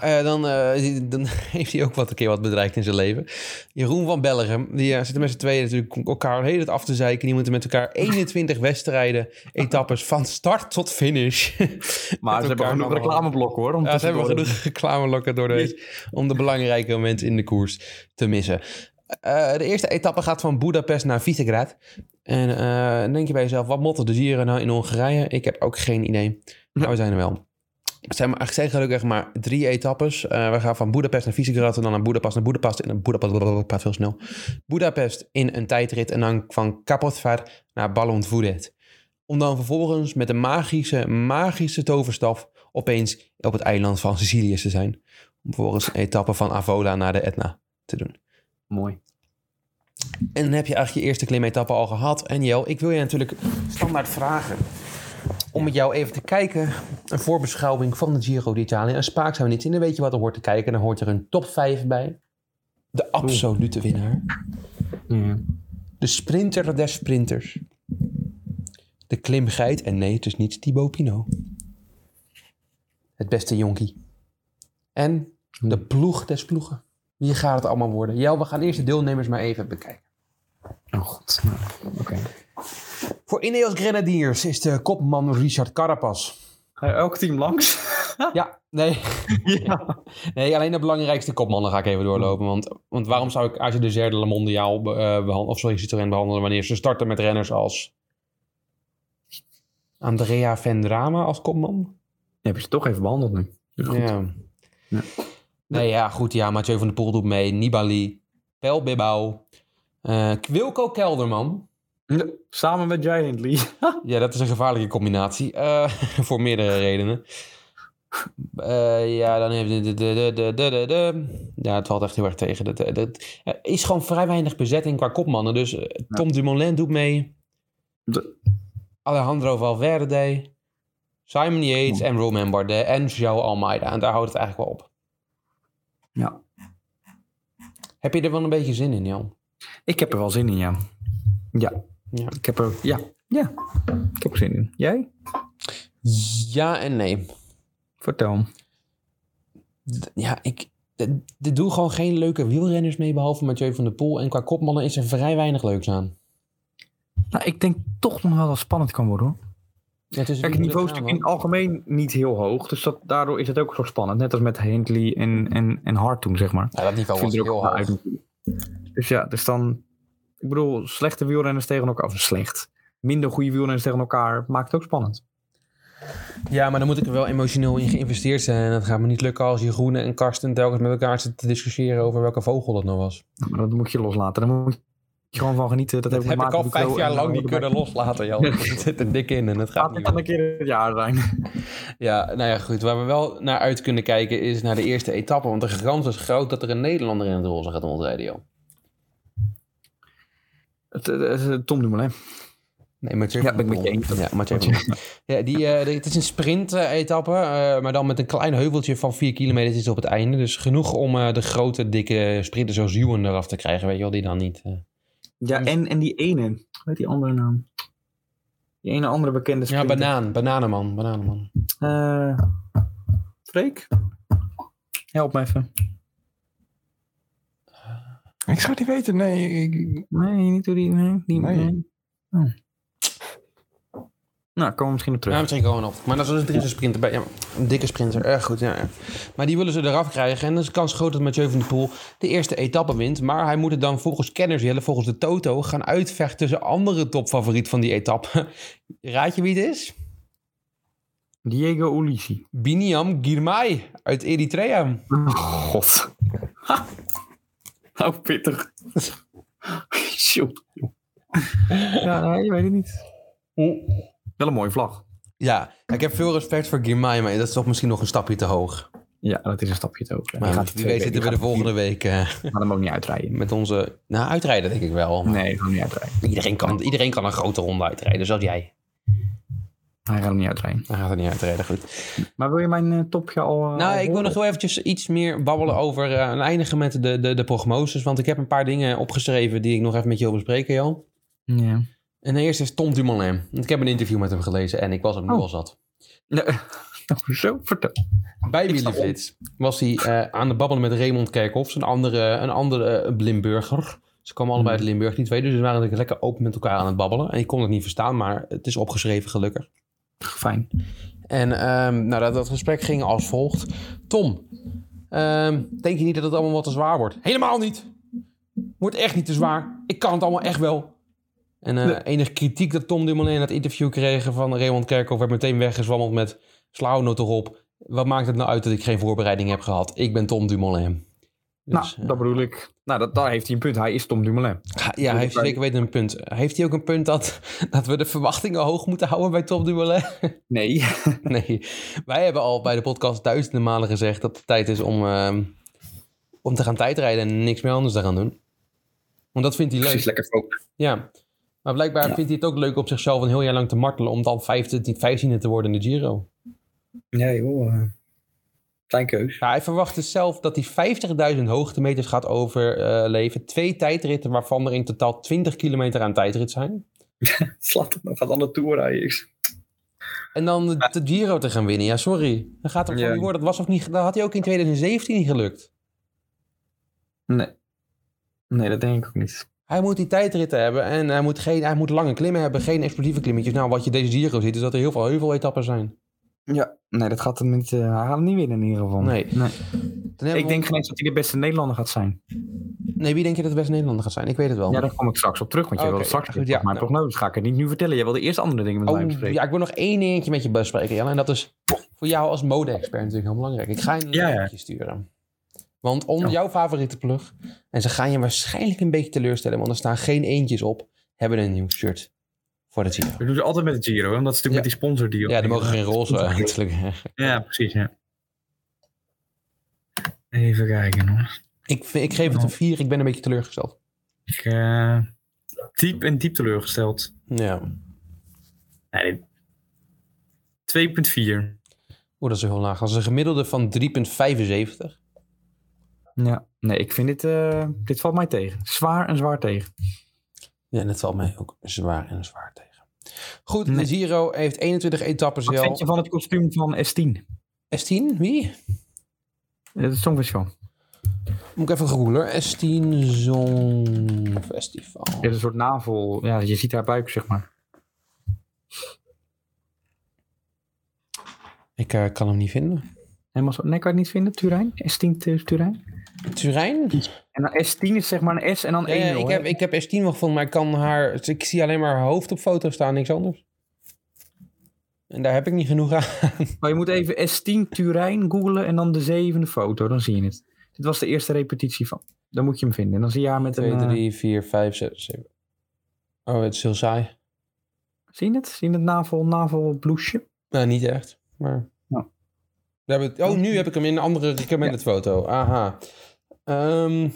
S1: Eh, dan, eh, dan (laughs) heeft hij ook wat een keer wat bedreigd in zijn leven. Jeroen van Bellegem, die eh, zitten met z'n tweeën natuurlijk elkaar heel het af te zeiken. Die moeten met elkaar
S3: (laughs)
S1: 21 wedstrijden, etappes van start tot finish. (laughs)
S3: Maar ze hebben
S1: elkaar
S3: genoeg
S1: nog wel.
S3: reclameblokken, hoor. om
S1: Ja, ze hebben
S3: tussendoor-
S1: genoeg reclamelokken door de
S3: (laughs)
S1: week om de belangrijke momenten in de koers te missen. Eh, de eerste etappe gaat van Budapest naar Visegrad. En eh, dan denk je bij jezelf, wat motten de Giro nou in Hongarije? Ik heb ook geen idee. Maar we zijn er wel. Het zijn, maar, het zijn gelukkig maar drie etappes. Eh, we gaan van Budapest naar Visegrad en dan naar Budapest naar Budapest. En dan Budapest, ik praat veel snel. Budapest in een tijdrit en dan van Kapotvar naar Ballonvoerdet. Om dan vervolgens met een magische, magische toverstaf opeens op het eiland van Sicilië te zijn. Om vervolgens een etappe van Avola naar de Etna te doen.
S3: Mooi.
S1: En dan heb je eigenlijk je eerste klimetappe al gehad. En Jel, ik wil je natuurlijk standaard vragen om met jou even te kijken. Een voorbeschouwing van de Giro d'Italia. En Spaak zijn we niet in. Dan weet je wat er hoort te kijken. Dan hoort er een top 5 bij. De absolute winnaar.
S3: Ja.
S1: De sprinter des sprinters. De klimgeit. En nee, het is niet Thibaut Pinot. Het beste jonkie. En de ploeg des ploegen. Wie gaat het allemaal worden? Jel, we gaan eerst de deelnemers maar even bekijken.
S3: Oh, god. Oké.
S1: Voor Ineos Grenadiers is de kopman Richard Carapaz.
S3: Ga je elk team langs?
S1: (laughs) Ja, nee. nee, alleen de belangrijkste kopmannen ga ik even doorlopen. Want, want waarom zou ik Aja de Zerde Le Mondiaal be- eh, behandelen, of sorry, Citroën behandelen wanneer ze starten met renners als Andrea Vendrama als kopman?
S3: heb je ze toch even behandeld nu.
S1: Ja.
S3: Ja.
S1: Nee, ja, goed. Ja, Mathieu van der Poel doet mee. Nibali, Pel Bilbao, eh, Wilco Kelderman.
S3: Samen met Giant Lee.
S1: Ja, dat is een gevaarlijke combinatie. eh, (laughs) voor meerdere redenen. Eh, ja, dan heeft... De, de, de, de, de, de, de. Ja, het valt echt heel erg tegen. Dat- eh, dat- dat- Er is gewoon vrij weinig bezetting qua kopmannen. Dus eh, Tom Dumoulin doet mee.
S3: De-
S1: Alejandro Valverde. Simon Yates en Romain Bardet. En Joao Almeida. En daar houdt het eigenlijk wel op.
S3: Ja.
S1: Heb je er wel een beetje zin in, Jan?
S3: Ik heb er wel zin in, ja. Ja.
S1: Ja.
S3: Ik heb er... Ja. Ja. Ik heb er zin in. Jij?
S1: Ja en nee.
S3: Vertel.
S1: ja, ik. Er doen gewoon geen leuke wielrenners mee, behalve Mathieu van der Poel. En qua kopmannen is er vrij weinig leuks aan.
S3: Nou, ik denk toch nog wel dat spannend kan worden, hoor.
S1: Ja, het is
S3: Kijk, het niveau is natuurlijk in het algemeen niet heel hoog. Dus dat, daardoor is het ook zo spannend. Net als met Hindley en, en, en Hart toen, zeg maar.
S1: Ja, dat niveau was
S3: er
S1: heel
S3: wel
S1: hoog.
S3: uit. Dus ja, dus dan... Ik bedoel, slechte wielrenners tegen elkaar... Of slecht. Minder goede wielrenners tegen elkaar maakt het ook spannend.
S1: Ja, maar dan moet ik er wel emotioneel in geïnvesteerd zijn. En dat gaat me niet lukken als Jeroen en Karsten telkens met elkaar zitten te discussiëren over welke vogel dat nou was.
S3: Nou, Maar dat moet je loslaten. Daar moet je gewoon van genieten. Dat,
S1: Dat
S3: heeft
S1: heb ik al vijf jaar lang niet kunnen
S3: loslaten.
S1: loslaten,
S3: (laughs)
S1: Jan. Het zit er dik in en het gaat
S3: Laat
S1: niet
S3: dit
S1: meer.
S3: dan een keer het jaar zijn. (laughs)
S1: Ja, nou ja, goed. Waar we wel naar uit kunnen kijken is naar de eerste etappe. Want de kans is groot dat er een Nederlander in het roze gaat rondrijden, Jan.
S3: Het, het, het, Tom Dumoulin.
S1: Nee, Mathieu
S3: Ja,
S1: van
S3: ben ik
S1: der
S3: met je
S1: Poel.
S3: eens.
S1: Ja, Mathieu van der Poel. Ja, die, eh, die- het is een sprint-etappe, eh, maar dan met een klein heuveltje van 4 kilometer is op het einde. Dus genoeg om eh, de grote, dikke sprinter zoals Ewan eraf te krijgen, weet je wel, die dan niet... eh.
S3: Ja, en, en die ene. Hoe heet die andere naam? Die ene andere
S1: Ja,
S3: bekende sprinter.
S1: banaan, bananenman, bananenman.
S3: Eh, Freek? Help me even.
S4: Ik zou het niet weten, nee. ik- ik-
S3: Nee, niet hoe die... Nee, die
S4: Nee.
S3: nee. Oh. Nou, komen we misschien op terug.
S1: Ja, misschien gewoon op. Maar dat is dus er is een sprinter bij. Ja, een dikke sprinter. Erg goed, ja. Maar die willen ze eraf krijgen. En dan is de kans groot dat Mathieu van der Poel de eerste etappe wint. Maar hij moet het dan volgens kenners, Jelle, volgens de Toto, gaan uitvechten tussen andere topfavoriet van die etappe. (laughs) Raad je wie het is?
S3: Diego Ulisi.
S1: Biniam Girmay uit Eritrea.
S3: God. Nou, pittig. Sjoe. Ja, nee, je weet het niet. Wel een mooie vlag.
S1: Ja, ik heb veel respect voor Girmay, maar dat is toch misschien nog een stapje te hoog.
S3: Ja, dat is een stapje te hoog. Die
S1: Maar
S3: gaat
S1: goed, wie weet zitten we de volgende week eh,
S3: Maar hem ook niet uitrijden.
S1: met onze... Nou, uitrijden denk ik wel. maar
S3: Nee, gewoon niet uitrijden.
S1: Iedereen, kan, iedereen kan een grote ronde uitrijden, zoals jij.
S3: Hij gaat hem niet uitrijden.
S1: Dan gaat het niet uitrijden, goed.
S3: Maar wil je mijn eh, topje al... eh, al
S1: Nou, ik wil
S3: horen?
S1: nog wel eventjes iets meer babbelen over... eh, en eindigen met de, de, de prognoses, want ik heb een paar dingen opgeschreven... die ik nog even met je wil bespreken, Johan.
S3: Ja.
S1: En de eerste is Tom Dumoulin. Want ik heb een interview met hem gelezen en ik was hem nu
S3: Oh.
S1: al zat.
S3: Nee, nou, zo, vertel.
S1: Bij
S3: sta op.
S1: Willeflits was hij eh, aan de babbelen met Raymond Kerkhoffs, een andere, een andere eh, Limburger. Ze kwamen allebei uit Limburg, die twee. Dus ze waren natuurlijk lekker open met elkaar aan het babbelen. En ik kon het niet verstaan, maar het is opgeschreven gelukkig.
S3: Fijn.
S1: Dus, En ehm, nou, dat, dat gesprek ging als volgt. Tom, ehm, denk je niet dat het allemaal wat te zwaar wordt? Helemaal niet. Wordt echt niet te zwaar. Ik kan het allemaal echt wel. En eh enige kritiek dat Tom Dumoulin in het interview kreeg van Raymond Kerkhoff... werd meteen weggezwammeld met slauw nou toch op. Wat maakt het nou uit dat ik geen voorbereiding heb gehad? Ik ben Tom Dumoulin. Dus,
S3: nou, dat bedoel ik. Nou, dat, daar heeft hij een punt. Hij is Tom Dumoulin.
S1: Ja, hij heeft zeker weten een punt. Heeft hij ook een punt dat, dat we de verwachtingen hoog moeten houden bij Tom Dumoulin?
S3: (laughs) Nee.
S1: (laughs) Nee, wij hebben al bij de podcast duizenden malen gezegd dat het tijd is om, ehm, om te gaan tijdrijden en niks meer anders te gaan doen. Want dat vindt hij leuk.
S3: Precies, lekker focus.
S1: Ja. Maar blijkbaar
S3: Ja.
S1: vindt hij het ook leuk op zichzelf een heel jaar lang te martelen om dan 15, 15e te worden in de Giro.
S3: Nee, joh. eh, Klein keus.
S1: Ja, hij verwacht dus zelf dat hij 50.000 hoogtemeters gaat overleven. Twee tijdritten waarvan er in totaal 20 kilometer aan tijdrit zijn.
S3: Slaat het nog. Gaat aan de Tour rijden.
S1: En dan de, de Giro te gaan winnen. Ja, sorry. Dat gaat hem gewoon
S3: Ja.
S1: niet worden. Dat, was ook niet, dat had hij ook in 2017 niet gelukt.
S3: Nee. Nee, dat denk ik ook niet.
S1: Hij moet die tijdritten hebben en hij moet, geen, hij moet lange klimmen hebben, geen explosieve klimmetjes. Nou, wat je deze Giro ziet, is dat er heel veel heuveletappen zijn.
S3: Ja, nee, dat gaat hem niet. eh, hij gaat hem niet winnen in ieder geval.
S1: Nee. Dan hebben
S3: Ik
S1: we-
S3: denk geen eens dat hij de beste Nederlander gaat zijn.
S1: Nee, wie denk je dat de beste Nederlander gaat zijn? Ik weet het wel.
S3: Ja, daar kom ik straks op terug, want jij
S1: Oh. Oké,
S3: wilde straks
S1: goed,
S3: terug.
S1: ja,
S3: maar
S1: nou.
S3: prognoses ga ik het niet nu vertellen. Jij wilde eerst andere dingen met mij
S1: oh,
S3: bespreken.
S1: ja, ik wil nog één dingetje met je bespreken, Jan. En dat is voor jou als mode-expert natuurlijk heel belangrijk. Ik ga je een
S3: Ja, ja.
S1: linkje sturen. Want onder
S3: Oh.
S1: jouw favoriete plug, en ze gaan je waarschijnlijk een beetje teleurstellen, want er staan geen eentjes op, hebben een nieuw shirt voor de Giro.
S3: Dat doen ze altijd met de Giro, hè, omdat ze natuurlijk met die sponsor die.
S1: Ja, er mogen geen
S3: (laughs)
S1: roze eigenlijk.
S3: Ja, precies. Ja. Even kijken hoor.
S1: Ik, ik geef het een vier. ik ben een beetje teleurgesteld.
S3: Ik, eh, diep en diep teleurgesteld.
S1: Ja.
S3: Nee, dit- 2,4.
S1: Oeh, dat is heel laag. Dat is een gemiddelde van 3,75.
S3: Ja, nee, ik vind dit. eh, dit valt mij tegen. Zwaar en zwaar tegen.
S1: Ja, dat valt mij ook zwaar en zwaar tegen. Goed,
S3: Nee.
S1: de Giro heeft 21 etappes.
S3: Wat vind je
S1: Wel.
S3: van het kostuum van S10?
S1: S10, wie?
S3: Het Songfestival.
S1: Moet ik even googlen. S10 Zonfestival.
S3: Het is een soort navel. Ja, je ziet haar buik, zeg maar.
S1: Ik eh, kan hem niet vinden.
S3: Helemaal zo. Nee, kan je het niet vinden, Turijn? S10 tu- Turijn?
S1: Turijn?
S3: En dan S10 is zeg maar een S en dan 1-0.
S1: Ja, Eh, ik, heb, ik heb S10 wel gevonden, maar ik kan haar... Ik zie alleen maar haar hoofd op foto staan, niks anders. En daar heb ik niet genoeg aan. (laughs)
S3: Maar je moet even S10 Turijn googlen en dan de zevende foto, dan zie je het. Dit was de eerste repetitie van. Dan moet je hem vinden. En dan zie je haar met een...
S1: 2,
S3: eh,
S1: 3, 4, 5, 6, 7. Oh, het is heel saai.
S3: Zie je het? Zie je het navel, navelbloesje?
S1: Nou, niet echt, maar...
S3: Nou.
S1: We hebben het- Oh, nu heb ik hem in een andere recommended foto. Aha. Ehm,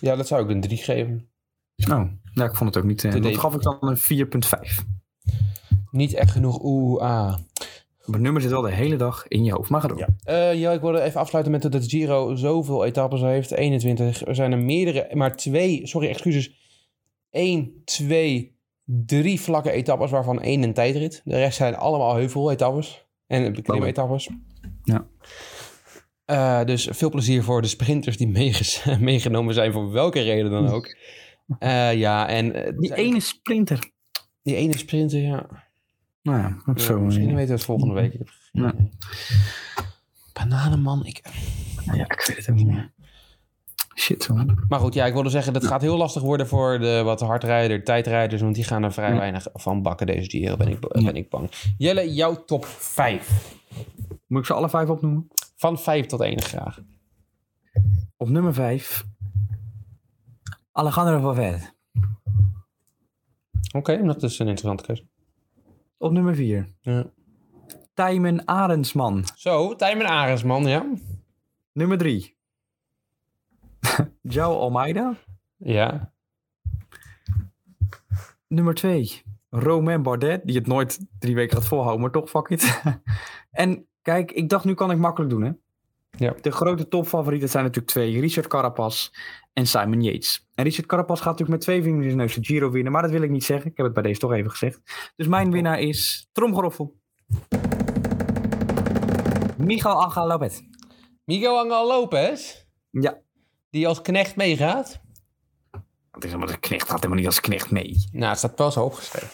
S1: ja, dat zou ik een 3 geven.
S3: Oh, ja, ik vond het ook niet... eh,
S1: De
S3: dat
S1: le-
S3: gaf ik dan een 4,5.
S1: Niet echt genoeg. Oeh, ah.
S3: Het nummer zit wel de hele dag in je hoofd. Maar ga door.
S1: Ja. Eh, ja, ik wilde even afsluiten met dat het Giro zoveel etappes heeft. 21. Er zijn er meerdere, maar twee, sorry, excuses. 1, 2, 3 vlakke etappes, waarvan één een tijdrit. De rest zijn allemaal heuvel-etappes en beklim-etappes.
S3: Ja.
S1: Eh, dus veel plezier voor de sprinters die meeges- (laughs) meegenomen zijn, voor welke reden dan ook. Eh, ja, en eh,
S3: Die ene sprinter.
S1: die ene sprinter, ja.
S3: Nou ja, op
S1: Ja,
S3: zo'n
S1: Misschien
S3: manier.
S1: weten we het volgende week. Ik heb geen
S3: Ja.
S1: idee. Bananenman, ik
S3: nou Ja, ik weet het ook niet meer. Shit, man.
S1: Maar goed, ja, ik wilde zeggen, dat gaat heel lastig worden voor de wat hardrijder, tijdrijders. Want die gaan er vrij
S3: Ja.
S1: weinig van bakken deze Giro, ben ik,
S3: Ja.
S1: ben ik bang. Jelle, jouw top 5.
S3: Moet ik ze alle vijf opnoemen?
S1: Van 5 tot 1 graag.
S3: Op nummer 5. Alejandro Valverde.
S1: Oké, dat is een interessante keuze.
S3: op nummer 4.
S1: Ja.
S3: Tijmen Arendsman,
S1: Zo, Tijmen Arends, man, ja.
S3: nummer (laughs) 3. Jao Almeida,
S1: Ja.
S3: nummer 2. Romain Bardet, die het nooit drie weken gaat volhouden, maar toch, fuck it. (laughs) en kijk, ik dacht nu kan ik makkelijk doen, hè.
S1: Ja.
S3: De grote topfavorieten zijn natuurlijk twee. Richard Carapaz en Simon Yates. En Richard Carapaz gaat natuurlijk met twee vingers in zijn neus de Giro winnen. Maar dat wil ik niet zeggen. Ik heb het bij deze toch even gezegd. Dus mijn winnaar is Tromgeroffel. Miguel Angel Lopez.
S1: Miguel Angel Lopez,
S3: Ja.
S1: die als knecht meegaat.
S3: Het is maar de knecht gaat helemaal niet als knecht mee.
S1: Nou, het staat wel zo opgeschreven.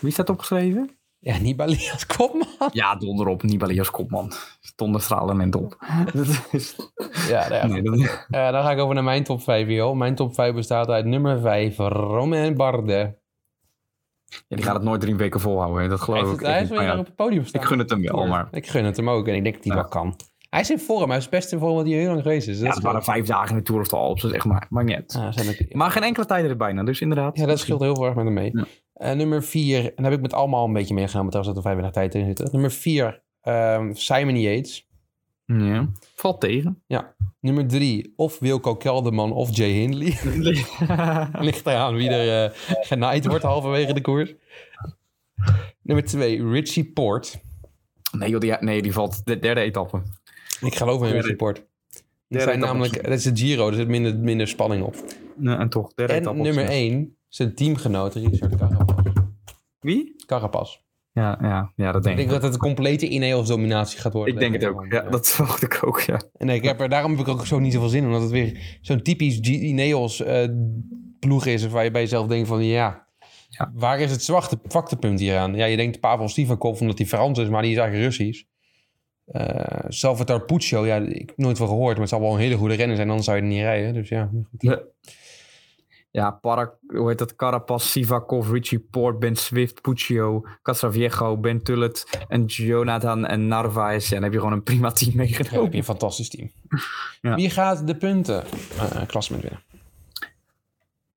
S3: Wie staat opgeschreven?
S1: Ja, Nibali als kopman.
S3: Ja, donderop. Nibali als kopman. Donderstralen en dop. (laughs) Dat is...
S1: (laughs) Ja, nou ja.
S3: Nee, dat...
S1: Eh, dan ga ik over naar mijn top 5 hier. al. Mijn top 5 bestaat uit nummer 5, Romain Bardet.
S3: ja, die gaat het nooit drie weken volhouden. hè. Dat
S1: Hij
S3: geloof
S1: heeft
S3: ik.
S1: het- Hij is
S3: Maar
S1: weer
S3: ja,
S1: op het podium staan.
S3: ik gun het hem wel, maar...
S1: Ik gun het hem ook en ik denk dat hij
S3: Ja.
S1: wel kan. Hij is in vorm, hij is best in vorm wat hij heel lang geweest is. Dat
S3: Ja,
S1: is
S3: het waren vijf dagen in de Tour of the Alps. Dat is echt maar, maar net.
S1: Ja, zijn ook-
S3: Maar geen enkele tijd er bijna, dus inderdaad.
S1: Ja, dat scheelt heel veel erg met hem mee.
S3: Ja.
S1: Eh, nummer 4, en daar heb ik met allemaal een beetje meegenomen, trouwens dat er 35 tijd in zitten. Nummer 4, Simon Yates.
S3: Ja. Valt tegen. (laughs)
S1: Nummer 3, of Wilco Kelderman of Jay Hindley. (laughs) Ligt eraan wie er eh, genaaid wordt halverwege de koers. Nummer 2, Richie Port.
S3: nee, joh, die, nee, die valt de derde etappe.
S1: Ik geloof in
S3: Derde-
S1: Richie Port. Dat,
S3: derde
S1: zijn
S3: etappe.
S1: namelijk, dat is het Giro, er zit minder, minder spanning op.
S3: Nee, en toch, derde
S1: En
S3: etappe.
S1: nummer 1, zijn teamgenoot Richard Carapaz.
S3: Wie?
S1: Carapaz.
S3: Ja, ja, ja dat
S1: Ik
S3: denk
S1: denk
S3: ik.
S1: dat het een complete Ineos dominatie gaat worden.
S3: Ik denk het ook. Ja, dat (laughs) verwacht ik ook, ja.
S1: En ik heb er, daarom heb ik ook zo niet zoveel zin in. Omdat het weer zo'n typisch G- Ineos eh, ploeg is. Waar je bij jezelf denkt van ja,
S3: Ja.
S1: waar is het zwakte, zwaktepunt hieraan? Ja, je denkt Pavel Stivankov omdat hij Frans is, maar die is eigenlijk Russisch. Eh Salvatore Puccio, ja, ik heb nooit van gehoord. Maar het zal wel een hele goede renner zijn, anders zou je er niet rijden. Dus ja, goed.
S3: Ja, Parak, hoe heet dat? Carapaz, Sivakov, Richie Port, Ben Swift, Puccio, Casaviejo, Ben Tullet en Jonathan en Narvaez. Ja, dan heb je gewoon een prima team (laughs)
S1: Dan heb
S3: meegenomen.
S1: je een fantastisch team.
S3: Ja.
S1: Wie gaat de punten eh klassement winnen?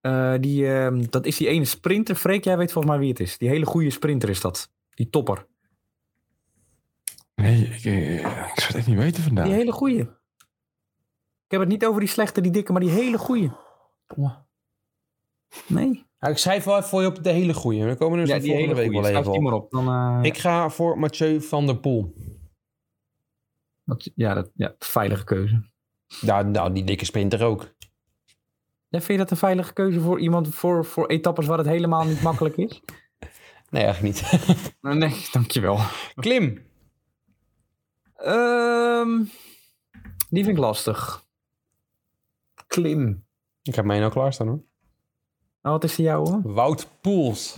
S3: Eh, die, ehm, dat is die ene sprinter. Freek, jij weet volgens mij wie het is. Die hele goede sprinter is dat. Die topper.
S4: Nee, ik, eh, ik zou het echt niet weten vandaag.
S3: Die hele goeie. Ik heb het niet over die slechte, die dikke, maar die hele goeie. Nee.
S1: Ja, ik schrijf wel even voor je op de hele goeie. We komen dus de volgende week wel even
S3: Schrijf die
S1: op.
S3: maar op. Dan, eh,
S1: Ik ga voor Mathieu van der Poel.
S3: dat- ja, dat, ja, veilige keuze.
S1: Nou, nou die dikke sprinter ook.
S3: Ja, vind je dat een veilige keuze voor iemand voor, voor etappes waar het helemaal niet makkelijk is?
S1: Nee, eigenlijk niet.
S3: (laughs)
S1: (laughs)
S3: Nee, dankjewel.
S1: Klim.
S3: Ehm die vind ik lastig. Klim.
S1: Ik heb mij nou klaarstaan hoor.
S3: Nou, wat is die jouwe?
S1: Wout Poels.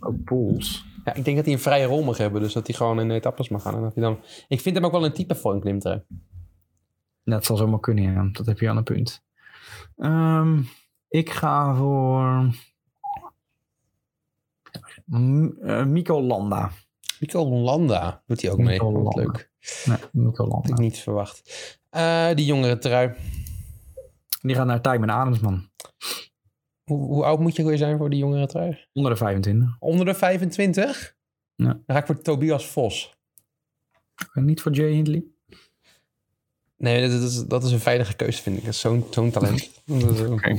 S3: Oh, Pools.
S1: Ja, ik denk dat hij een vrije rol mag hebben. Dus dat hij gewoon in de etappes mag gaan. En dat hij dan... Ik vind hem ook wel een type voor een klimtrui.
S3: Dat zal zomaar kunnen, ja. Dat heb je aan een punt. Ehm, ik ga voor... M- eh, Mico Landa.
S1: Mikel Landa doet hij ook mee.
S3: Mikel
S1: Wat
S3: Landa.
S1: leuk.
S3: Nee, Mico
S1: Had ik
S3: Landa.
S1: niet verwacht. Eh, die jongere trui.
S3: Die gaat naar Tijmen Ademsman.
S1: Hoe, hoe oud moet je weer zijn voor die jongere trui?
S3: Onder de 25.
S1: Onder de 25?
S3: Ja.
S1: Dan ga ik voor Tobias Vos.
S3: En niet voor Jay Hindley.
S1: Nee, dat is, dat is een veilige keuze, vind ik. Dat is Zo'n zo'n talent. Dat is ook- (laughs)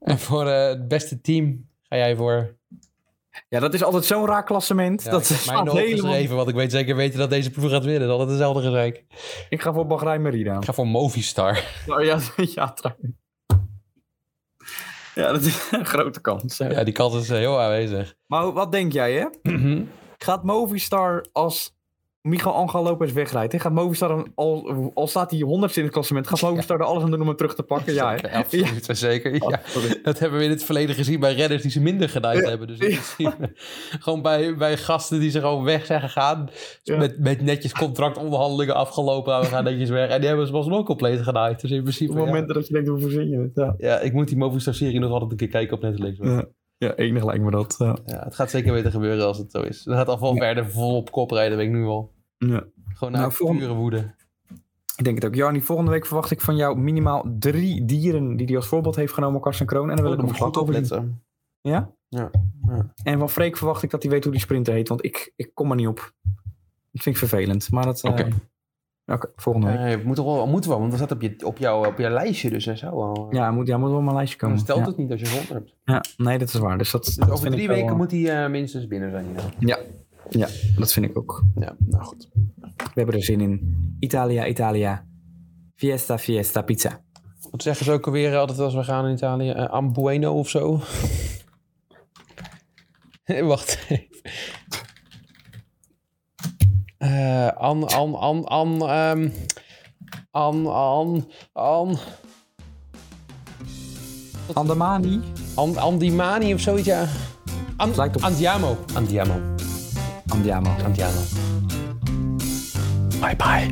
S1: en voor eh, het beste team ga jij voor
S3: Ja, dat is altijd zo'n raar klassement.
S1: Ja,
S3: dat
S1: ik heb
S3: slaat
S1: mijn
S3: helemaal-
S1: opgeschreven, want ik weet zeker weten dat deze ploeg gaat winnen. Dat is altijd hetzelfde gezeik.
S3: Ik ga voor Bahrein Merida.
S1: Ik ga voor Movistar.
S3: Oh, ja, (laughs) ja, trouwens. Ja, dat is een grote kans. hè.
S1: (laughs) Ja, die kans is eh, heel aanwezig.
S3: Maar wat denk jij, hè? Gaat Movistar als Miguel Angel Lopez wegrijdt? Hè? Gaat Movistar, dan- al, al staat hij honderdste in het klassement, gaat Movistar er alles aan doen om hem terug te pakken? Ja, hè?
S1: absoluut. Zeker. Ja, dat hebben we in het verleden gezien bij redders die ze minder gedaan hebben. Dus in principe (laughs) gewoon bij, bij gasten die ze gewoon weg zijn gegaan.
S3: Ja.
S1: Met, met netjes contractonderhandelingen afgelopen. en We gaan netjes weg. En die hebben ze alsnog compleet gedaan. Dus in principe.
S3: Op
S1: ja.
S3: momenten dat je denkt, hoe verzin je het? Ja,
S1: Ja, ik moet die Movistar-serie nog altijd een keer kijken op Netflix. hoor.
S3: ja. ja enig lijkt me dat. ja.
S1: Ja, het gaat zeker weten gebeuren als het zo is. Dan gaat Alval verder vol op kop rijden, weet ik nu al.
S3: Ja.
S1: Gewoon
S3: Nou,
S1: naar
S3: volgende-
S1: pure woede.
S3: Ik denk het ook. Jarni, volgende week verwacht ik van jou
S1: Oh,
S3: minimaal drie dieren die hij als voorbeeld heeft genomen, Karsten Kroon. En dan wil ik hem goed over
S1: opletten.
S3: Ja?
S1: Ja,
S3: En van Freek verwacht ik dat hij weet hoe die sprinter heet, want ik, ik kom er niet op. Dat vind ik vervelend. Maar dat. eh, Oké,
S4: Oké.
S3: volgende week.
S1: Nee, we moeten wel, we moeten wel, want dat staat op je, op jouw op jouw lijstje dus en zo al.
S3: Ja, moet, ja, moet wel op mijn lijstje
S1: Dan
S3: komen.
S1: stelt
S3: ja.
S1: het niet als je het rond hebt.
S3: Ja, nee, dat is waar. Dus dat,
S1: Dus
S3: dat
S1: over
S3: vind
S1: drie
S3: ik
S1: weken
S3: wel,
S1: moet hij eh, minstens binnen zijn. Ja.
S3: Ja, dat vind ik ook.
S1: ja, nou goed.
S3: We hebben er zin in. Italia, Italia. Fiesta, fiesta, pizza.
S1: Wat zeggen ze ook alweer altijd als we gaan in Italië? Eh, Ambueno of zo? (laughs) Eh, Wacht even. Eh, an, an, an, an, ehm, an, an, an,
S3: Andamani.
S1: an, Andimani of zoiets, ja. An,
S3: Lijkt op-
S1: Andiamo. Andiamo.
S3: Andiamo.
S1: Andiamo. Bye bye.